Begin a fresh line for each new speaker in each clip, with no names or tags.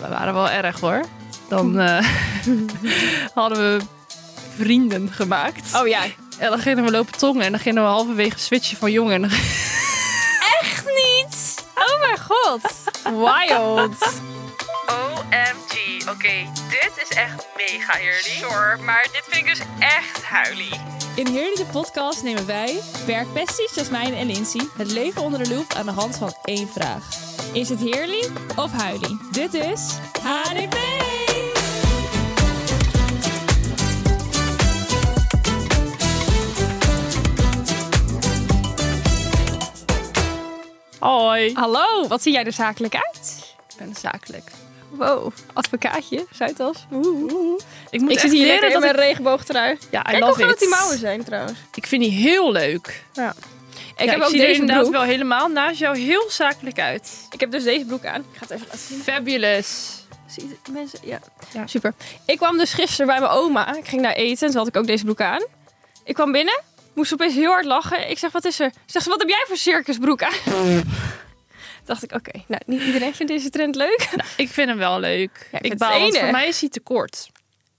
we waren wel erg hoor. Dan eh, hadden we vrienden gemaakt.
Oh ja.
En dan gingen we lopen tongen en dan gingen we halverwege switchen van jongen. En dan
Echt niet! Oh mijn god. Wild.
OMG. Oké, dit is echt mega eerlijk. Sure, maar dit vind ik dus echt huilie.
In Heerlijke Podcast nemen wij, werkbesties Jasmijn en Lindsay, het leven onder de loep aan de hand van één vraag. Is het heerlijk of huilie? Dit is HDP!
Hoi.
Hallo, wat zie jij er zakelijk uit?
Ik ben dus zakelijk.
Wow, advocaatje, Zuidas.
Ik moet
Ik
echt
zit hier
leren
lekker in
dat
mijn
ik...
regenboogtrui.
Ja, I
Kijk hoe
love
groot
it.
die mouwen zijn trouwens.
Ik vind die heel leuk.
Ja.
Ik
ik
heb ook
zie
deze
er inderdaad
wel helemaal naast jou heel zakelijk uit.
Ik heb dus deze broek aan. Ik ga het even laten zien.
Fabulous.
Zie je het, mensen? Ja.
Ja.
Super. Ik kwam dus gisteren bij mijn oma. Ik ging daar eten en toen had ik ook deze broek aan. Ik kwam binnen, moest opeens heel hard lachen. Ik zeg, wat is er? Ze Zegt ze, wat heb jij voor circusbroek aan? dacht ik, oké, nou, niet iedereen vindt deze trend leuk.
Ik vind hem wel leuk.
vind
ik
het
baal, want
enig.
voor mij is hij te kort.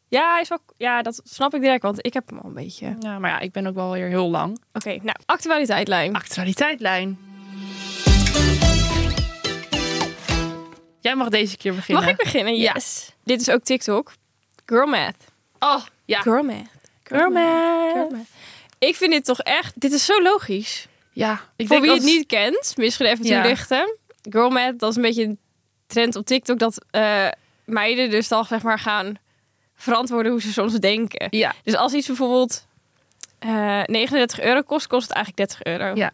Ja, hij is wel, ja, dat snap ik direct, want ik heb hem al een beetje. Oké,
Ja, maar ja, ik ben ook wel weer heel lang.
nou, actualiteitlijn.
Actualiteitlijn. Jij mag deze keer beginnen.
Mag ik beginnen? Yes. Dit is ook TikTok. Girl math.
Oh, ja.
Girl math. Girl math.
Eh,
Ik vind dit toch echt... Dit is zo logisch.
Ja, ik denk
Voor wie
als-
het niet kent, misschien even
Ja.
toelichten. Girl math, dat is een beetje een trend op TikTok dat eh, meiden dus dan zeg maar gaan verantwoorden hoe ze soms denken.
Ja,
Dus als iets bijvoorbeeld eh, 39 euro kost, kost het eigenlijk 30 euro.
ja.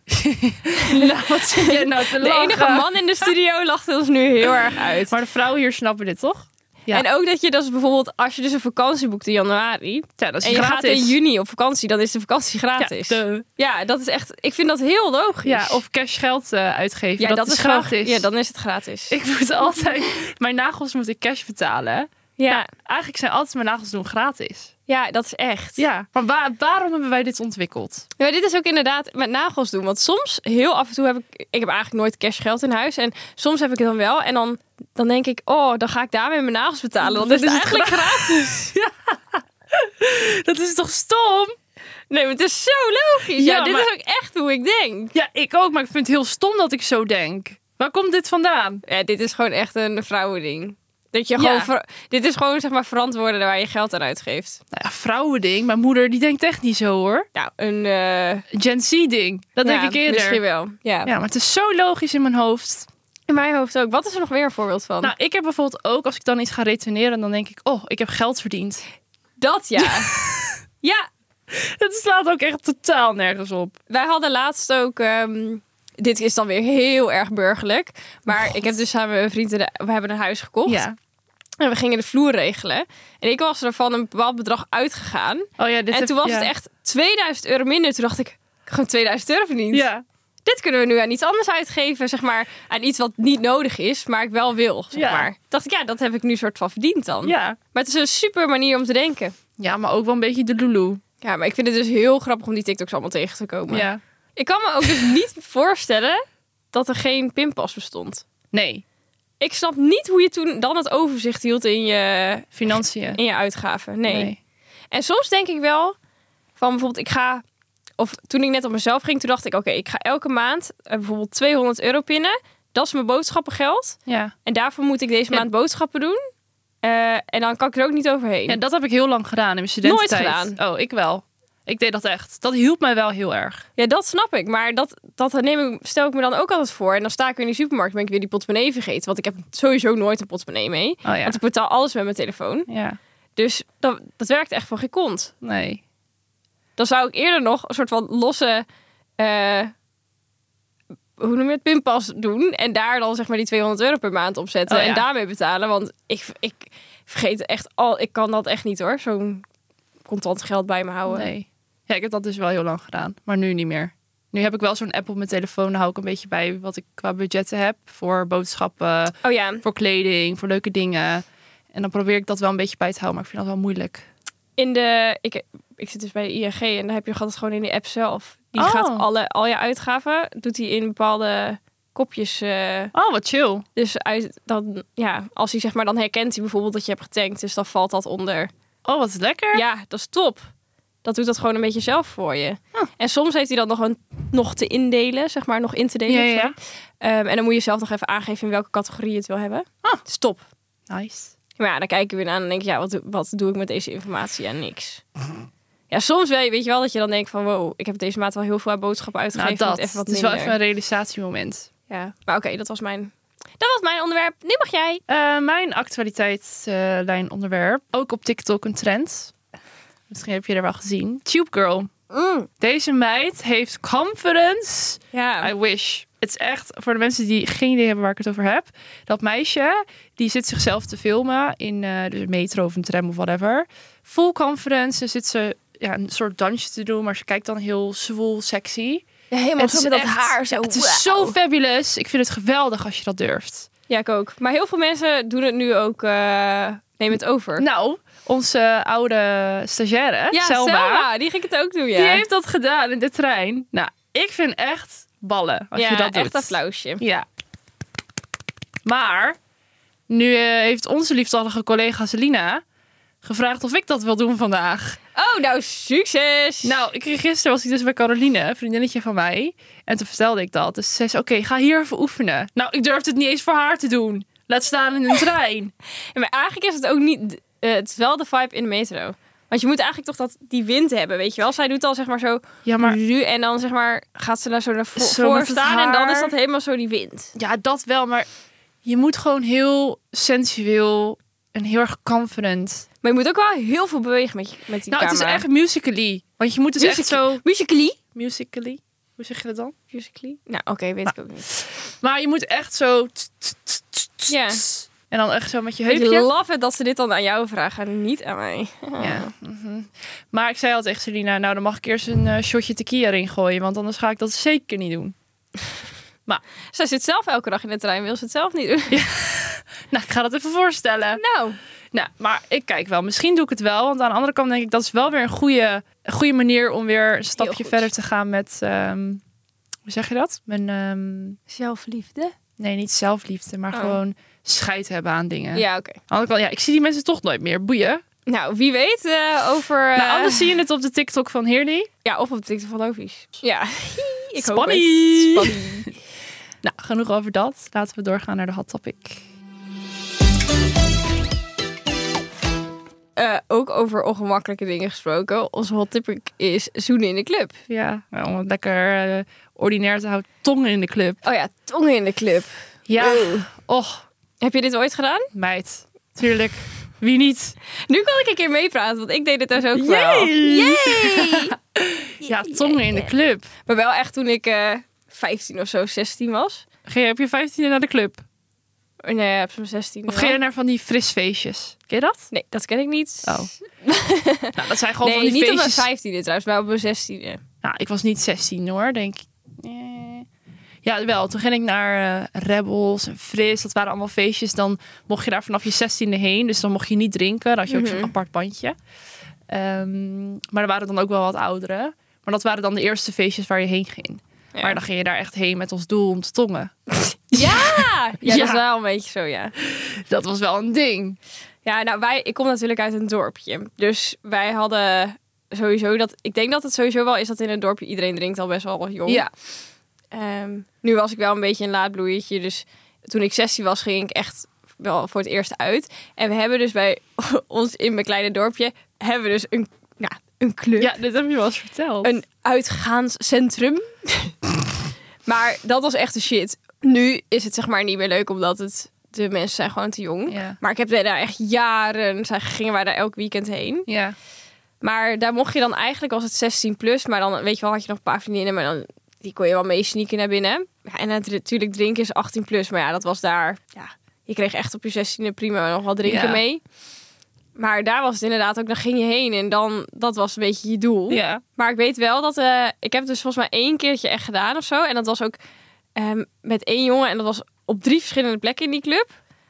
nou, wat zit jij nou te
De
lachen?
enige man in de studio lacht ons nu heel erg uit.
Maar de vrouwen hier snappen dit, toch? ja.
En ook dat je dus bijvoorbeeld, als je dus een vakantie boekt in januari
Ja, dat
en je gaat in juni op vakantie, dan is de vakantie
Ja,
gratis. Ja,
duh.
dat is echt, ik vind dat heel logisch.
ja, of cash geld eh, uitgeven.
ja,
dat, is
gewoon-
gratis.
Ja, dan is het gratis.
Ik moet altijd... Mijn nagels moet ik cash betalen.
ja.
Eigenlijk zijn altijd mijn nagels doen gratis.
Ja, dat is echt.
Ja, maar wa- waarom hebben wij dit ontwikkeld?
Maar dit is ook inderdaad met nagels doen. Want soms, heel af en toe, heb ik... Ik heb eigenlijk nooit cash geld in huis. En soms heb ik het dan wel. En dan, dan denk ik, oh, dan ga ik daarmee mijn nagels betalen. Want
Dan
dat is
is het
eigenlijk gratis.
Dat is toch stom?
Nee, maar het is zo logisch. Ja,
Ja,
dit
maar-
is ook echt hoe ik denk.
Ja, ik ook, maar ik vind het heel stom dat ik zo denk. Waar komt dit vandaan?
Ja, dit is gewoon echt een vrouwending. Dat je gewoon...
Ja.
ver- dit is gewoon, zeg maar, verantwoorden waar je geld aan uitgeeft.
Nou ja, vrouwending. Mijn moeder die denkt echt niet zo hoor.
Nou, een... eh,
Gen Z ding. Dat
ja,
denk ik eerder.
Misschien wel, ja.
Ja, maar het is zo logisch in mijn hoofd.
In mijn hoofd ook. Wat is er nog weer een voorbeeld van?
Nou, ik heb bijvoorbeeld ook, als ik dan iets ga retourneren, dan denk ik, oh, ik heb geld verdiend.
dat ja. ja,
Dat slaat ook echt totaal nergens op.
Wij hadden laatst ook. ehm, dit is dan weer heel erg burgerlijk. Maar ik heb dus samen met mijn vrienden. de- we hebben een huis gekocht. En we gingen de vloer regelen. En ik was er van een bepaald bedrag uitgegaan.
Oh ja, dit
en
heb-
toen was
ja.
het echt 2000 euro minder. Toen dacht ik. ik heb Gewoon 2000 euro verdiend.
Ja.
Dit kunnen we nu aan iets anders uitgeven. Zeg maar aan iets wat niet nodig is, maar ik wel wil. Zeg
Ja.
maar. Dacht ik, ja, dat heb ik nu soort van verdiend dan.
ja.
Maar het is een super manier om te denken.
Ja, maar ook wel een beetje de Lulu.
Ja, maar ik vind het dus heel grappig om die TikToks allemaal tegen te komen.
Ja.
Ik kan me ook dus niet voorstellen dat er geen pinpas bestond.
Nee,
Ik snap niet hoe je toen dan het overzicht hield in je,
financiën.
in je uitgaven. Nee. En soms denk ik wel van bijvoorbeeld ik ga... Of toen ik net op mezelf ging, toen dacht ik... Oké, ik ga elke maand eh, bijvoorbeeld 200 euro pinnen. Dat is mijn boodschappengeld.
Ja.
En daarvoor moet ik deze
Ja.
maand boodschappen doen. Eh, en dan kan ik er ook niet overheen.
ja, dat heb ik heel lang gedaan in mijn studententijd.
gedaan.
Oh, ik wel. Ik deed dat echt. Dat hielp mij wel heel erg.
Ja, dat snap ik. Maar dat, dat neem ik, stel ik me dan ook altijd voor. En dan sta ik weer in die supermarkt en ben ik weer die portemonnee vergeten. Want ik heb sowieso nooit een portemonnee mee.
Oh ja.
Want ik betaal alles met mijn telefoon.
Ja.
Dus dat, dat werkt echt voor geen kont.
Nee.
Dan zou ik eerder nog een soort van losse... eh, hoe noem je het? Pinpas doen. En daar dan zeg maar die 200 euro per maand op zetten.
Oh ja.
En daarmee betalen. Want ik, ik vergeet echt al... Ik kan dat echt niet hoor. Zo'n contant geld bij me houden.
Nee. Ja, ik heb dat dus wel heel lang gedaan, maar nu niet meer. Nu heb ik wel zo'n app op mijn telefoon. Dan hou ik een beetje bij wat ik qua budgetten heb voor boodschappen,
Oh ja.
voor kleding, voor leuke dingen. En dan probeer ik dat wel een beetje bij te houden, maar ik vind dat wel moeilijk.
in de. Ik, ik zit dus bij de ING en dan heb je altijd gewoon in de app zelf. Die
Oh.
gaat alle, al je uitgaven, doet hij in bepaalde kopjes. eh,
Oh, wat chill.
dus uit, dan, ja, als hij zeg maar, dan herkent hij bijvoorbeeld dat je hebt getankt. Dus dan valt dat onder.
Oh, wat lekker.
Ja, dat is top. Dat doet dat gewoon een beetje zelf voor je.
Ah.
En soms heeft hij dan nog een nog te indelen, zeg maar, nog in te delen.
Ja, ja,
sorry. Ehm, en dan moet je zelf nog even aangeven in welke categorie je het wil hebben.
Ah.
Dat is top.
Nice.
Maar ja, dan kijk ik weer naar en dan denk ik, ja, wat, wat doe ik met deze informatie? Ja, niks.
Mhm.
Ja, soms wel, weet je wel dat je dan denkt van, wow, ik heb deze maand wel heel veel aan boodschappen
Nou,
uitgegeven.
dat.
moet even Dus wat
het is wel
minder.
even een realisatiemoment.
Ja, maar oké, dat was mijn... Dat was mijn onderwerp. Nu mag jij.
Eh, mijn actualiteitslijn onderwerp. Ook op TikTok een trend. Misschien heb je er wel gezien. Tube Girl.
Mm.
Deze meid heeft confidence.
Ja.
I wish. Het is echt voor de mensen die geen idee hebben waar ik het over heb. Dat meisje die zit zichzelf te filmen in eh de metro of een tram of whatever. Full confidence. Dan zit ze ja, een soort dansje te doen, maar ze kijkt dan heel zwoel, sexy.
Ja, helemaal
Het
zo
is
met dat
echt-
haar. Zo,
Het is
wauw.
zo fabulous. Ik vind het geweldig als je dat durft.
Ja, ik ook. Maar heel veel mensen doen het nu ook. eh neem het over.
Nou, onze oude stagiaire,
ja,
Selma,
die ging het ook doen. Ja,
die heeft dat gedaan in de trein. Nou, ik vind echt ballen als
ja,
je dat doet.
echt applausje.
Ja. Maar nu eh, heeft onze lieftallige collega Selina gevraagd of ik dat wil doen vandaag.
Oh, nou, succes!
Nou, ik kreeg- gisteren was ik dus bij Caroline, een vriendinnetje van mij. En toen vertelde ik dat. Dus zei ze, oké, ga hier even oefenen. Nou, ik durfde het niet eens voor haar te doen. Laat staan in een trein.
Ja, maar eigenlijk is het ook niet. eh, het is wel de vibe in de metro. Want je moet eigenlijk toch dat, die wind hebben, weet je wel? Zij doet al zeg maar zo.
Ja, maar
ru- en dan zeg maar gaat ze daar zo naar vo-
Zo met
voor
het
staan. En dan
haar.
is dat helemaal zo die wind.
ja, dat wel. Maar je moet gewoon heel sensueel en heel erg confident.
Maar je moet ook wel heel veel bewegen met, je- met die
nou, het is
camera.
echt musically. Want je moet dus echt
Musical.ly?
zo...
Musically?
Musically? Hoe zeg je dat dan?
Musically? Nou, oké, weet ik ook niet.
Maar je moet echt zo.
Ja.
En dan echt zo met je
Ik
heupje.
love het dat ze dit dan aan jou vragen en niet aan mij. Oh.
Ja. mhm. Maar ik zei al tegen Selina, nou dan mag ik eerst een eh, shotje tequila erin gooien, want anders ga ik dat zeker niet doen.
Zij zit zelf elke dag in de trein, wil ze het zelf niet doen.
Nou, ik ga dat even voorstellen.
Nou,
Nou, maar ik kijk wel. Misschien doe ik het wel, want aan de andere kant denk ik dat is wel weer een goede, een goede manier om weer een stapje
goed.
verder te gaan met, ehm, hoe zeg je dat? Mijn, ehm,
zelfliefde.
nee, niet zelfliefde, maar
Oh.
gewoon scheid hebben aan dingen.
Ja, oké.
Aan de andere kant, ja, ik zie die mensen toch nooit meer. Boeien.
Nou, wie weet eh, over... eh,
Nou, anders zie je het op de TikTok van Heerly.
Ja, of op TikTok van Lovies. Ja, ik hoop het.
Spannie.
Spannie.
Nou, genoeg over dat. Laten we doorgaan naar de hot topic.
Eh, ook over ongemakkelijke dingen gesproken. Onze hot topic is zoenen in de club.
Ja, nou, om het lekker eh, ordinair te houden. Tongen in de club.
Oh ja, tongen in de club.
Ja.
Ew.
Och,
Heb je dit ooit gedaan?
meid. Tuurlijk. Wie niet?
Nu kan ik een keer meepraten, want ik deed het dus ook wel. Yay!
Ja, tongen in de club.
maar wel echt toen ik eh 15 of zo, 16 was. Eh,
Ging je op je vijftiende naar de club?
Nee, op zo'n 16.
Of
ja.
ging je naar van die frisfeestjes? Ken je dat?
Nee, dat ken ik niet.
Oh. Nou, dat zijn gewoon
nee,
van die
niet
feestjes.
op mijn 15e trouwens, maar op mijn 16e.
Nou, ik was niet 16 hoor, denk ik. Eh. Ja, wel. Toen ging ik naar eh, Rebels en Fris. Dat waren allemaal feestjes. Dan mocht je daar vanaf je 16e heen. Dus dan mocht je niet drinken. Dan had je ook zo'n apart bandje. Ehm, maar er waren dan ook wel wat ouderen. Maar dat waren dan de eerste feestjes waar je heen ging.
Ja.
Maar dan ging je daar echt heen met ons doel om te tongen.
Ja! ja, dat
Ja.
is wel een beetje zo, ja.
Dat was wel een ding.
Ja, nou, wij, ik kom natuurlijk uit een dorpje. Dus wij hadden sowieso dat... Ik denk dat het sowieso wel is dat in een dorpje iedereen drinkt al best wel wat jong.
Ja.
Ehm, nu was ik wel een beetje een laadbloeiertje. Dus toen ik 16 was, ging ik echt wel voor het eerst uit. En we hebben dus bij ons in mijn kleine dorpje... hebben we dus een, nou, een club.
Ja, dit heb je wel eens verteld.
Een uitgaanscentrum. maar dat was echt de shit. Nu is het zeg maar niet meer leuk, omdat het... De mensen zijn gewoon te jong.
Ja.
Maar ik heb daar echt jaren, zij gingen wij daar elk weekend heen.
Ja.
Maar daar mocht je dan eigenlijk, was het 16 plus, maar dan weet je wel, had je nog een paar vriendinnen, maar dan die kon je wel mee sneaken naar binnen. Ja, en het- natuurlijk drinken is 18 plus, maar ja, dat was daar. Ja, je kreeg echt op je 16e prima nog wel drinken
Ja.
mee. Maar daar was het inderdaad ook, dan ging je heen en dan, dat was een beetje je doel.
Ja.
Maar ik weet wel dat eh, ik heb het dus volgens mij één keertje echt gedaan of zo. En dat was ook ehm, met één jongen. En dat was op drie verschillende plekken in die club.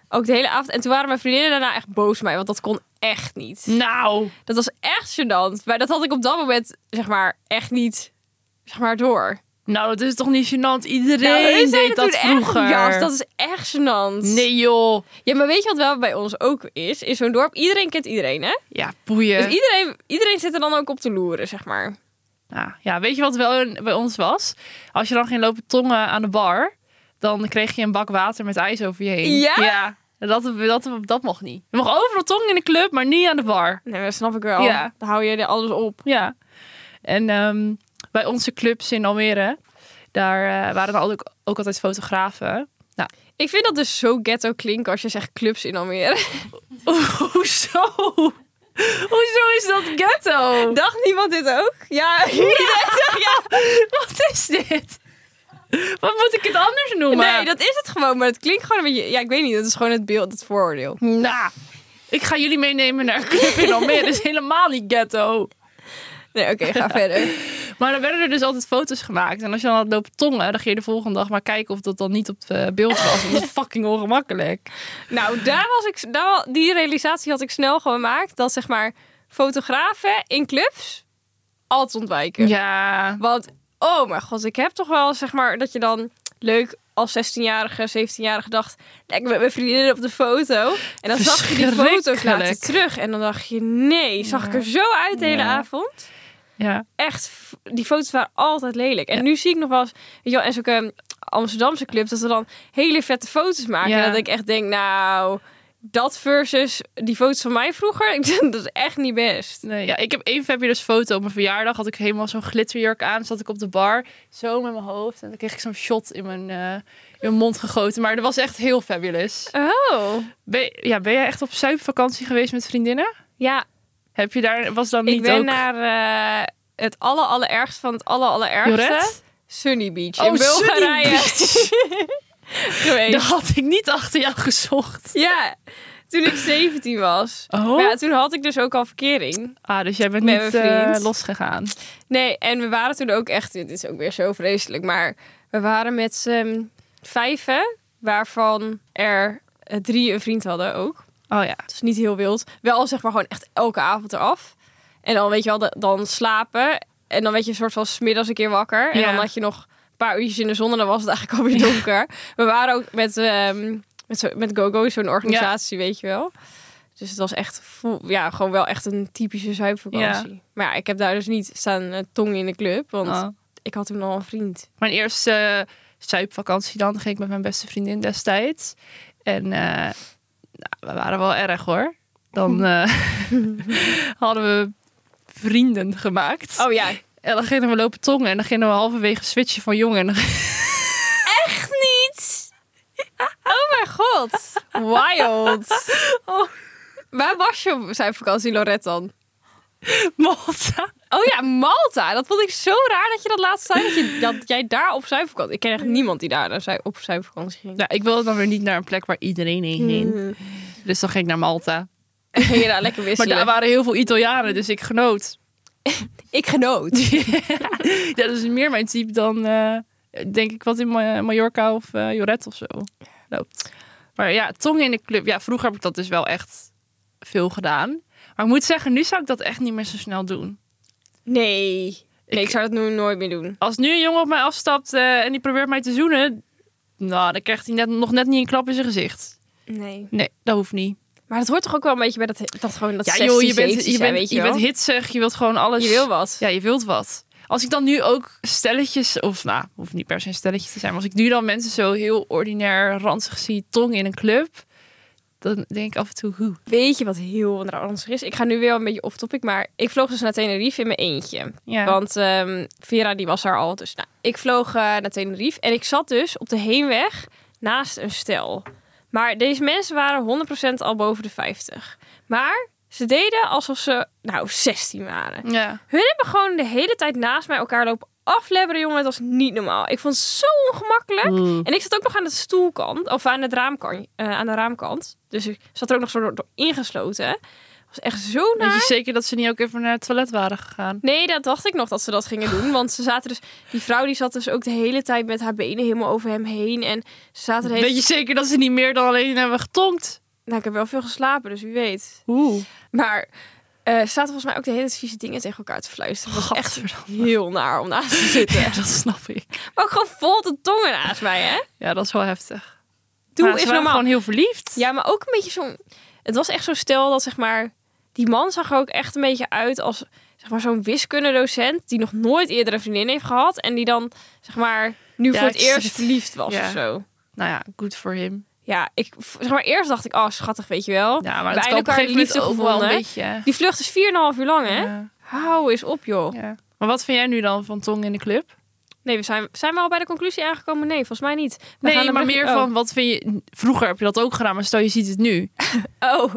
Ook de hele avond. En toen waren mijn vriendinnen daarna echt boos op mij. Want dat kon echt niet.
Nou.
Dat was echt gênant. Maar dat had ik op dat moment, zeg maar, echt niet zeg maar, door.
Nou, dat is toch niet gênant? Iedereen
Nou, hun zeiden
deed dat
toen echt op
vroeger.
jas. dat is echt gênant.
Nee joh.
Ja, maar weet je wat wel bij ons ook is? In zo'n dorp, iedereen kent iedereen, hè?
Ja, boeien.
Dus iedereen, iedereen zit er dan ook op te loeren, zeg maar.
Ja, Nou, ja, weet je wat wel een- bij ons was? Als je dan ging lopen tongen aan de bar, dan kreeg je een bak water met ijs over je heen.
Ja?
Dat, dat, dat mocht niet. Je mocht overal tongen in de club, maar niet aan de bar.
Nee, maar dat snap ik wel.
Ja.
Dan hou je er alles op.
Ja. En ehm, bij onze clubs in Almere, daar eh, waren dan ook, ook altijd fotografen. Nou,
Ik vind dat dus zo ghetto klinken als je zegt clubs in Almere.
hoezo? Hoezo is dat ghetto?
Dacht niemand dit ook? Ja,
Wat is dit? Wat moet ik het anders noemen?
nee, dat is het gewoon. Maar het klinkt gewoon een beetje... Ja, ik weet niet. Dat is gewoon het beeld, het vooroordeel.
Nou, ik ga jullie meenemen naar een club in Almere. Dat is helemaal niet ghetto.
Nee, oké, ga verder.
Maar dan werden er dus altijd foto's gemaakt. En als je dan had lopen tongen, dan ging je de volgende dag maar kijken of dat dan niet op eh, beeld was. Want dat is fucking ongemakkelijk.
Nou, daar was ik... Daar, wa- die realisatie had ik snel gemaakt. Dat, zeg maar, fotografen in clubs altijd ontwijken.
Ja,
Want, oh mijn god, ik heb toch wel, zeg maar, dat je dan leuk als 16-jarige, 17-jarige dacht... Lekker met mijn vriendinnen op de foto. En dan zag je die foto's later
Verschrikkelijk.
terug. En dan dacht je, nee, zag ik er zo uit de hele
Ja.
avond.
ja.
Echt, f- die foto's waren altijd lelijk. En nu zie ik nog wel eens, weet je wel, en zulke Amsterdamse clubs... dat ze dan hele vette foto's maken.
Ja.
En dat ik echt denk, nou... Dat versus die foto's van mij vroeger, ik denk, dat is echt niet best.
Nee, ja. Ik heb één Fabulous foto op mijn verjaardag. Had ik helemaal zo'n glitterjurk aan. Zat ik op de bar, zo met mijn hoofd. En dan kreeg ik zo'n shot in mijn, eh, in mijn mond gegoten. Maar dat was echt heel fabulous.
Oh.
Ben, je- ja, ben jij echt op zuipvakantie geweest met vriendinnen?
Ja,
Heb je daar, was dan niet
Ik ben
ook...
naar eh, het aller, allerergste van het aller, allerergste.
Joret?
Sunny Beach
Oh,
in Bulgarije geweest.
Dat had ik niet achter jou gezocht.
Ja, toen ik 17 was.
Oh?
Maar Ja, toen had ik dus ook al verkering.
Ah, dus jij bent
Met
niet
mijn vriend.
eh, losgegaan.
Nee, en we waren toen ook echt... Dit is ook weer zo vreselijk, maar we waren met z'n vijven... waarvan er eh, drie een vriend hadden ook.
Oh ja.
Het is niet heel wild. Wel zeg maar gewoon echt elke avond eraf. En dan weet je wel, da- dan slapen. En dan weet je een soort van smiddags een keer wakker. En
Ja.
dan had je nog een paar uurtjes in de zon en dan was het eigenlijk alweer donker. We waren ook met, ehm met, zo, met GoGo, zo'n organisatie, weet je wel. Dus het was echt, vo- ja, gewoon wel echt een typische zuipvakantie. Maar ja, ik heb daar dus niet staan eh, tong in de club, want
Oh.
ik had toen al een vriend.
Mijn eerste eh, zuipvakantie dan ging ik met mijn beste vriendin destijds. En eh, nou, we waren wel erg hoor. Dan eh, hadden we vrienden gemaakt.
Oh ja,
En dan gingen we lopen tongen. En dan gingen we halverwege switchen van jongen. En dan-
echt niet. Oh mijn god. Wild.
Oh.
Waar was je op zijn vakantie, Lorette dan?
Malta.
Oh ja, Malta. Dat vond ik zo raar dat je dat laatst zei. Dat, je, dat jij daar op zijn vakantie... Ik ken echt niemand die daar naar zijn- op zijn vakantie ging.
Nou, ik wilde dan weer niet naar een plek waar iedereen heen
Hmm.
ging. Dus dan ging ik naar Malta.
En ging je daar lekker
Maar
wisselen.
daar waren heel veel Italianen, dus ik genoot.
Ik genoot.
Ja, dat is meer mijn type dan, eh, denk ik, wat in Ma- Mallorca of eh Joret of zo loopt. Maar ja, tong in de club. Ja, vroeger heb ik dat dus wel echt veel gedaan. Maar ik moet zeggen, nu zou ik dat echt niet meer zo snel doen.
Nee. Nee, ik,
Ik-
zou dat nu nooit meer doen.
Als nu een jongen op mij afstapt eh, en die probeert mij te zoenen... Nou, dan krijgt hij net, nog net niet een klap in zijn gezicht.
Nee.
Nee, dat hoeft niet.
Maar dat hoort toch ook wel een beetje bij dat, dat gewoon dat
Ja,
16,
joh, je bent,
17
je
zijn,
bent,
weet
je
je wel.
bent hitsig, je wilt gewoon alles.
Je wil wat.
Ja, je wilt wat. Als ik dan nu ook stelletjes, of nou, hoeft niet per se een stelletje te zijn, maar als ik nu dan mensen zo heel ordinair ranzig zie, tong in een club, dan denk ik af en toe, hoe?
Weet je wat heel raar is? Ik ga nu weer een beetje off-topic, maar ik vloog dus naar Tenerife in mijn eentje.
Ja.
Want ehm, Vera die was daar al. Dus nou, ik vloog eh, naar Tenerife en ik zat dus op de heenweg naast een stel. Maar deze mensen waren 100% al boven de 50. Maar ze deden alsof ze, nou, 16 waren.
Ja.
Hun hebben gewoon de hele tijd naast mij elkaar lopen aflebberen, jongen. Het was niet normaal. Ik vond het zo ongemakkelijk.
Mm.
En ik zat ook nog aan de stoelkant, of aan, het raamkant, eh, aan de raamkant. Dus ik zat er ook nog zo door, door ingesloten. Het was echt zo
Weet je
naar.
zeker dat ze niet ook even naar het toilet waren gegaan?
Nee, dat dacht ik nog dat ze dat gingen doen. Want ze zaten dus, die vrouw die zat dus ook de hele tijd met haar benen helemaal over hem heen. En ze zaten de hele
Weet je zeker dat ze niet meer dan alleen hebben getonkt?
Nou, ik heb wel veel geslapen, dus wie weet.
Oeh.
Maar eh, zaten volgens mij ook de hele tijd vieze dingen tegen elkaar te fluisteren. Het was echt
Gadverdamme.
heel naar om naast te zitten.
Ja, dat snap ik.
Maar ook gewoon vol de tongen naast mij, hè?
Ja, dat is wel heftig.
Doe
Maar ze
is
waren
normaal.
gewoon heel verliefd.
Ja, maar ook een beetje zo'n... Het was echt zo stel dat, zeg maar... Die man zag er ook echt een beetje uit als zeg maar, zo'n wiskundedocent... die nog nooit eerder een vriendin heeft gehad... en die dan, zeg maar, nu
Ja,
voor het
ik zit-
eerst verliefd was
Ja.
of zo.
Nou ja, good for him.
Ja, ik, zeg maar, eerst dacht ik, oh, schattig, weet je wel.
Ja, maar
Wij
het kan op een
elkaar
gegeven moment
liefde
ook wel een
gevonden.
beetje. hè?
Die vlucht is 4,5 uur lang, hè?
Ja,
Hou eens op, joh.
ja. Maar wat vind jij nu dan van tong in de club?
Nee, we zijn, zijn we al bij de conclusie aangekomen? Nee, volgens mij niet. We gaan Oh.
nee,
een
maar
brugje-
meer van wat vind je... Vroeger heb je dat ook gedaan, maar stel je ziet het nu.
Oh, Oh.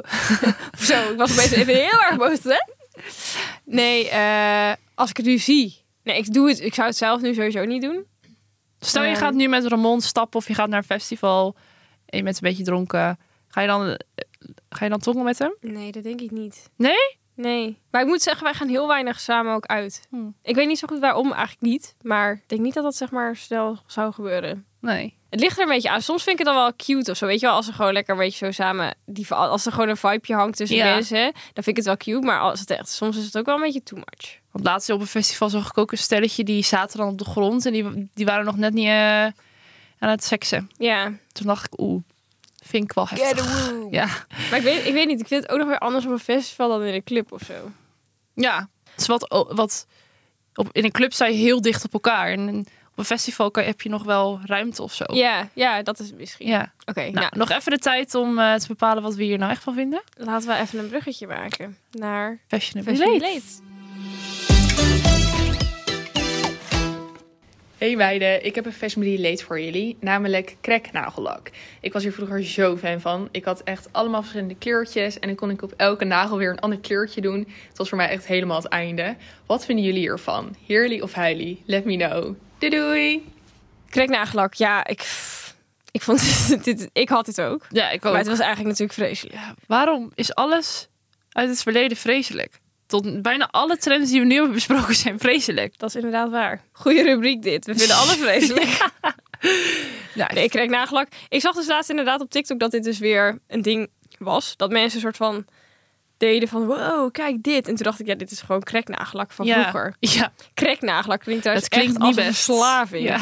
zo, ik was opeens even heel erg boos, hè? Nee, eh, als ik het nu zie... Nee, ik, doe het, ik zou het zelf nu sowieso niet doen.
Stel je
Ehm.
gaat nu met Ramon stappen of je gaat naar een festival en je bent een beetje dronken. Ga je dan, eh, ga je dan tongen met hem?
Nee, dat denk ik niet.
Nee?
Nee. Maar ik moet zeggen, wij gaan heel weinig samen ook uit.
Hm.
Ik weet niet zo goed waarom, eigenlijk niet. Maar ik denk niet dat dat zeg maar snel zou gebeuren.
Nee.
Het ligt er een beetje aan. Soms vind ik het dan wel cute of zo. Weet je wel, als ze gewoon lekker een beetje zo samen... Die, als er gewoon een vibeje hangt tussen
Ja.
mensen, dan vind ik het wel cute. Maar als het echt, soms is het ook wel een beetje too much.
Want laatst op een festival zag ik ook een stelletje die zaten dan op de grond en die, die waren nog net niet eh, aan het seksen.
Ja.
Toen dacht ik, oeh, vind ik wel heftig. Ja.
Maar ik weet, ik weet niet, ik vind het ook nog weer anders op een festival dan in een club of zo.
ja. Het is wat, o- wat op, in een club sta je heel dicht op elkaar. En op een festival kan, heb je nog wel ruimte of zo.
Ja, ja, dat is het misschien.
Ja.
Oké,
Nou,
nou,
nog even de tijd om eh, te bepalen wat we hier nou echt van vinden.
laten we even een bruggetje maken naar
Fashionably
Fashion
late.
Late.
Hey meiden, ik heb een Fashionably late voor jullie, namelijk cracknagellak. Ik was hier vroeger zo fan van. Ik had echt allemaal verschillende kleurtjes en dan kon ik op elke nagel weer een ander kleurtje doen. Het was voor mij echt helemaal het einde. Wat vinden jullie hiervan? Heerly of heilie? Let me know. Doei doei!
Kreknagelak, ja, ik, ik vond dit, dit- ik had dit ook.
Ja, ik ook.
Maar het was eigenlijk natuurlijk vreselijk.
Ja, waarom is alles uit het verleden vreselijk? Tot bijna alle trends die we nu hebben besproken zijn vreselijk.
Dat is inderdaad waar. Goede rubriek dit. We vinden alles vreselijk.
Ja,
Nee, ik kreeg nagelak. Ik zag dus laatst inderdaad op TikTok dat dit dus weer een ding was. Dat mensen een soort van deden van wow, kijk dit. En toen dacht ik, ja, dit is gewoon kreknagelak van
ja.
vroeger.
Ja,
Kreknagelak klinkt trouwens
het klinkt
echt
niet
als een
best.
verslaving.
Ja.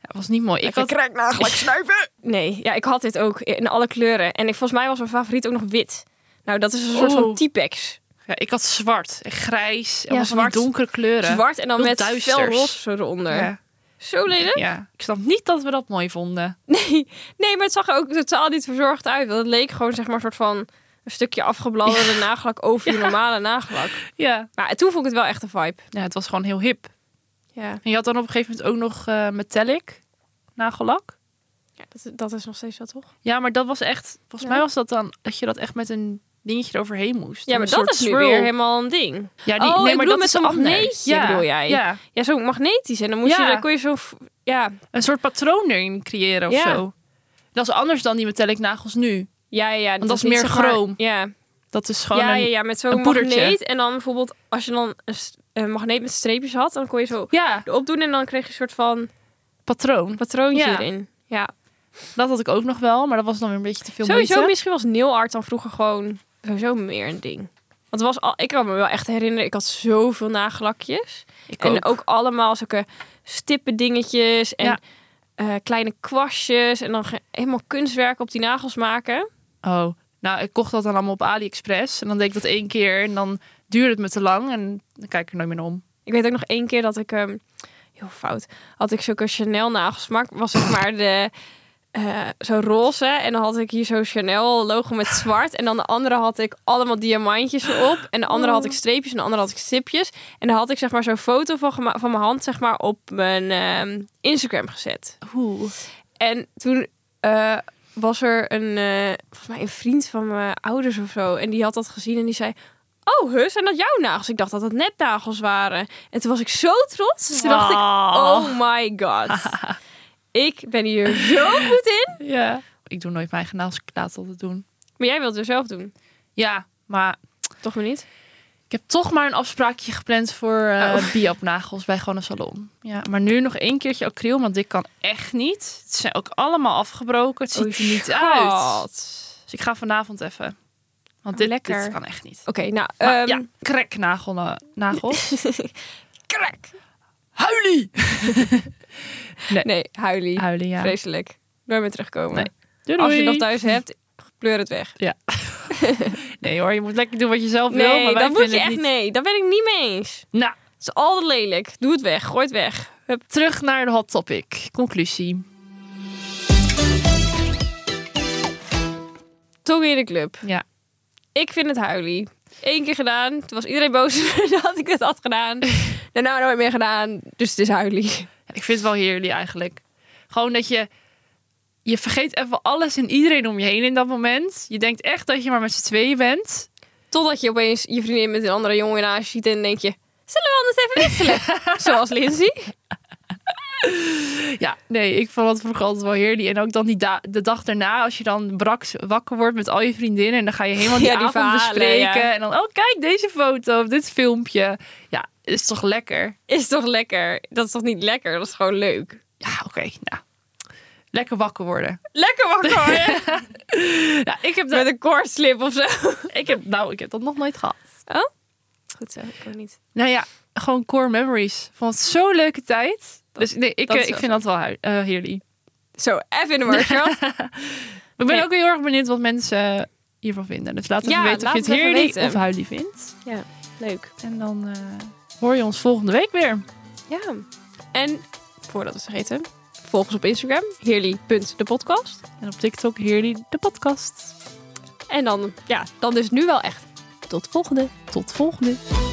Dat was niet mooi. Ik had,
kreknagelak snuiven. Nee, ja, ik had dit ook in alle kleuren. En ik, volgens mij was mijn favoriet ook nog wit. Nou, dat is een soort van
Oh.
T-Pex.
ja, ik had zwart en grijs en
Ja,
was zwart,
zwart.
donkere kleuren.
Zwart en dan
Heel
met
duisters.
fel roze zo eronder.
Ja.
Zo lelijk.
ja, ik snap niet dat we dat mooi vonden.
Nee, nee, maar het zag er ook totaal niet verzorgd uit. Want het leek gewoon zeg maar een soort van een stukje afgebladderde nagelak over je normale nagelak.
Ja.
Maar toen vond ik het wel echt een vibe.
ja, het was gewoon heel hip.
Ja,
En je had dan op een gegeven moment ook nog eh, metallic nagellak.
dat, dat is nog steeds wel toch?
Ja, maar dat was echt... Volgens
Ja.
mij was dat dan dat je dat echt met een dingetje eroverheen moest.
Ja,
Een
maar dat
soort
is nu
swirl.
weer helemaal een ding.
Ja, die,
Oh, ik
nee, maar
bedoel
dat
met
is
zo'n
anders.
magneetje, bedoel jij?
Ja,
Ja, zo magnetisch. En dan moest
Ja.
je, dan kon je zo'n... v- Ja,
een soort patroon erin creëren of
Ja.
zo. Dat is anders dan die metallic nagels nu.
ja, ja. ja, dus
Want dat is
niet,
meer
zeg maar-
chroom.
Ja.
Dat is gewoon
Ja,
een...
ja, ja, met zo'n
een poedertje.
magneet. En dan bijvoorbeeld, als je dan een, s- een magneet met streepjes had, dan kon je zo
Ja,
erop doen. En dan kreeg je een soort van
patroon.
patroontje
Ja.
erin. Ja,
Dat had ik ook nog wel, maar dat was dan weer een beetje te veel
Sowieso,
moeite.
misschien was nail art dan vroeger gewoon sowieso meer een ding. Want het was al, ik kan me wel echt herinneren, ik had zoveel nagelakjes.
Ik
En ook allemaal zulke stippen dingetjes en
Ja.
eh, kleine kwastjes. En dan ge- helemaal kunstwerk op die nagels maken.
Oh, nou, ik kocht dat dan allemaal op AliExpress. En dan deed ik dat één keer en dan duurde het me te lang. En dan kijk ik er nooit meer naar om.
Ik weet ook nog één keer dat ik, ehm, heel fout, had ik zulke Chanel nagels gemaakt. Was zeg maar de, eh, zo roze. En dan had ik hier zo'n Chanel logo met zwart. En dan de andere had ik allemaal diamantjes erop. En de andere had ik streepjes en de andere had ik stipjes. En daar had ik zeg maar zo'n foto van, gema- van mijn hand zeg maar op mijn ehm, Instagram gezet.
Oeh.
En toen eh, was er een, eh, volgens mij een vriend van mijn ouders of zo. En die had dat gezien en die zei... Oh, huh, zijn dat jouw nagels? Ik dacht dat dat nepnagels waren. En toen was ik zo trots. Toen dacht ik, oh my god. Ik ben hier zo goed in.
Ja. Ik doe nooit mijn eigen nagels. Ik laat het altijd doen.
Maar jij wilt het zelf doen.
Ja, maar
Toch maar niet?
Ik heb toch maar een afspraakje gepland voor eh biapnagels bij gewoon een salon. Ja, maar nu nog één keertje acryl, want dit kan echt niet. Het Oh, zijn ook allemaal afgebroken. Het ziet er niet uit.
uit.
Dus ik ga vanavond even. Want dit,
Lekker.
dit kan echt niet.
Oké, nou.
Maar
ehm
ja, kreknagel, eh, nagels.
Krek!
Huilie!
Nee, huilie.
Huilie, ja.
Vreselijk. Nooit meer terugkomen.
Nee. Doei,
Als je
doei.
nog thuis hebt, pleur het weg.
Nee hoor, je moet lekker doen wat je zelf wil.
Nee,
maar wij
dat moet
vinden
je
het
echt
niet.
nee. Daar ben ik niet mee eens.
Nou,
Het is altijd lelijk. Doe het weg. Gooi het weg. Hup.
terug naar de hot topic. Conclusie.
Tong in de club.
Ja.
Ik vind het huilie. Eén keer gedaan. Toen was iedereen boos dat ik het had gedaan. Daarna nooit meer gedaan. Dus het is huilie.
Ik vind het wel heerlijk eigenlijk. Gewoon dat je... Je vergeet even alles en iedereen om je heen in dat moment. Je denkt echt dat je maar met z'n tweeën bent.
Totdat je opeens je vriendin met een andere jongen naast je ziet. En dan denk je, zullen we anders even wisselen? Zoals Lindsay.
Ja, nee, ik vond dat vroeger altijd wel heerlijk. En ook dan die da- de dag daarna, als je dan brak wakker wordt met al je vriendinnen. En dan ga je helemaal die,
Ja, die
avond
verhalen,
bespreken.
ja.
En dan, oh kijk, deze foto of dit filmpje. Ja, is toch lekker?
Is toch lekker? Dat is toch niet lekker? Dat is gewoon leuk.
Ja, oké, nou. Lekker wakker worden.
Lekker wakker worden.
Ja, ik heb dat,
Met een koortslip of zo.
ik heb, nou, ik heb dat nog nooit gehad.
Oh? Goed zo, ik ook niet.
Nou ja, gewoon core memories. Vond het zo'n leuke tijd. dus nee, ik,
dat
eh,
is
ik
wel
vind dat wel hui- eh, heerlijk.
Zo, even in de workshop.
Ik ben
Nee.
ook heel erg benieuwd wat mensen eh, hiervan vinden. Dus laat
Ja,
even weten of
laat
je het
het even
heerlijk
weten.
of huilie vindt.
Leuk.
En dan eh, hoor je ons volgende week weer.
Ja. En, voordat we het vergeten, volg ons op Instagram. Heerly.depodcast.
En op TikTok Heerly de podcast.
En dan, ja, dan is nu wel echt. Tot volgende.
Tot volgende.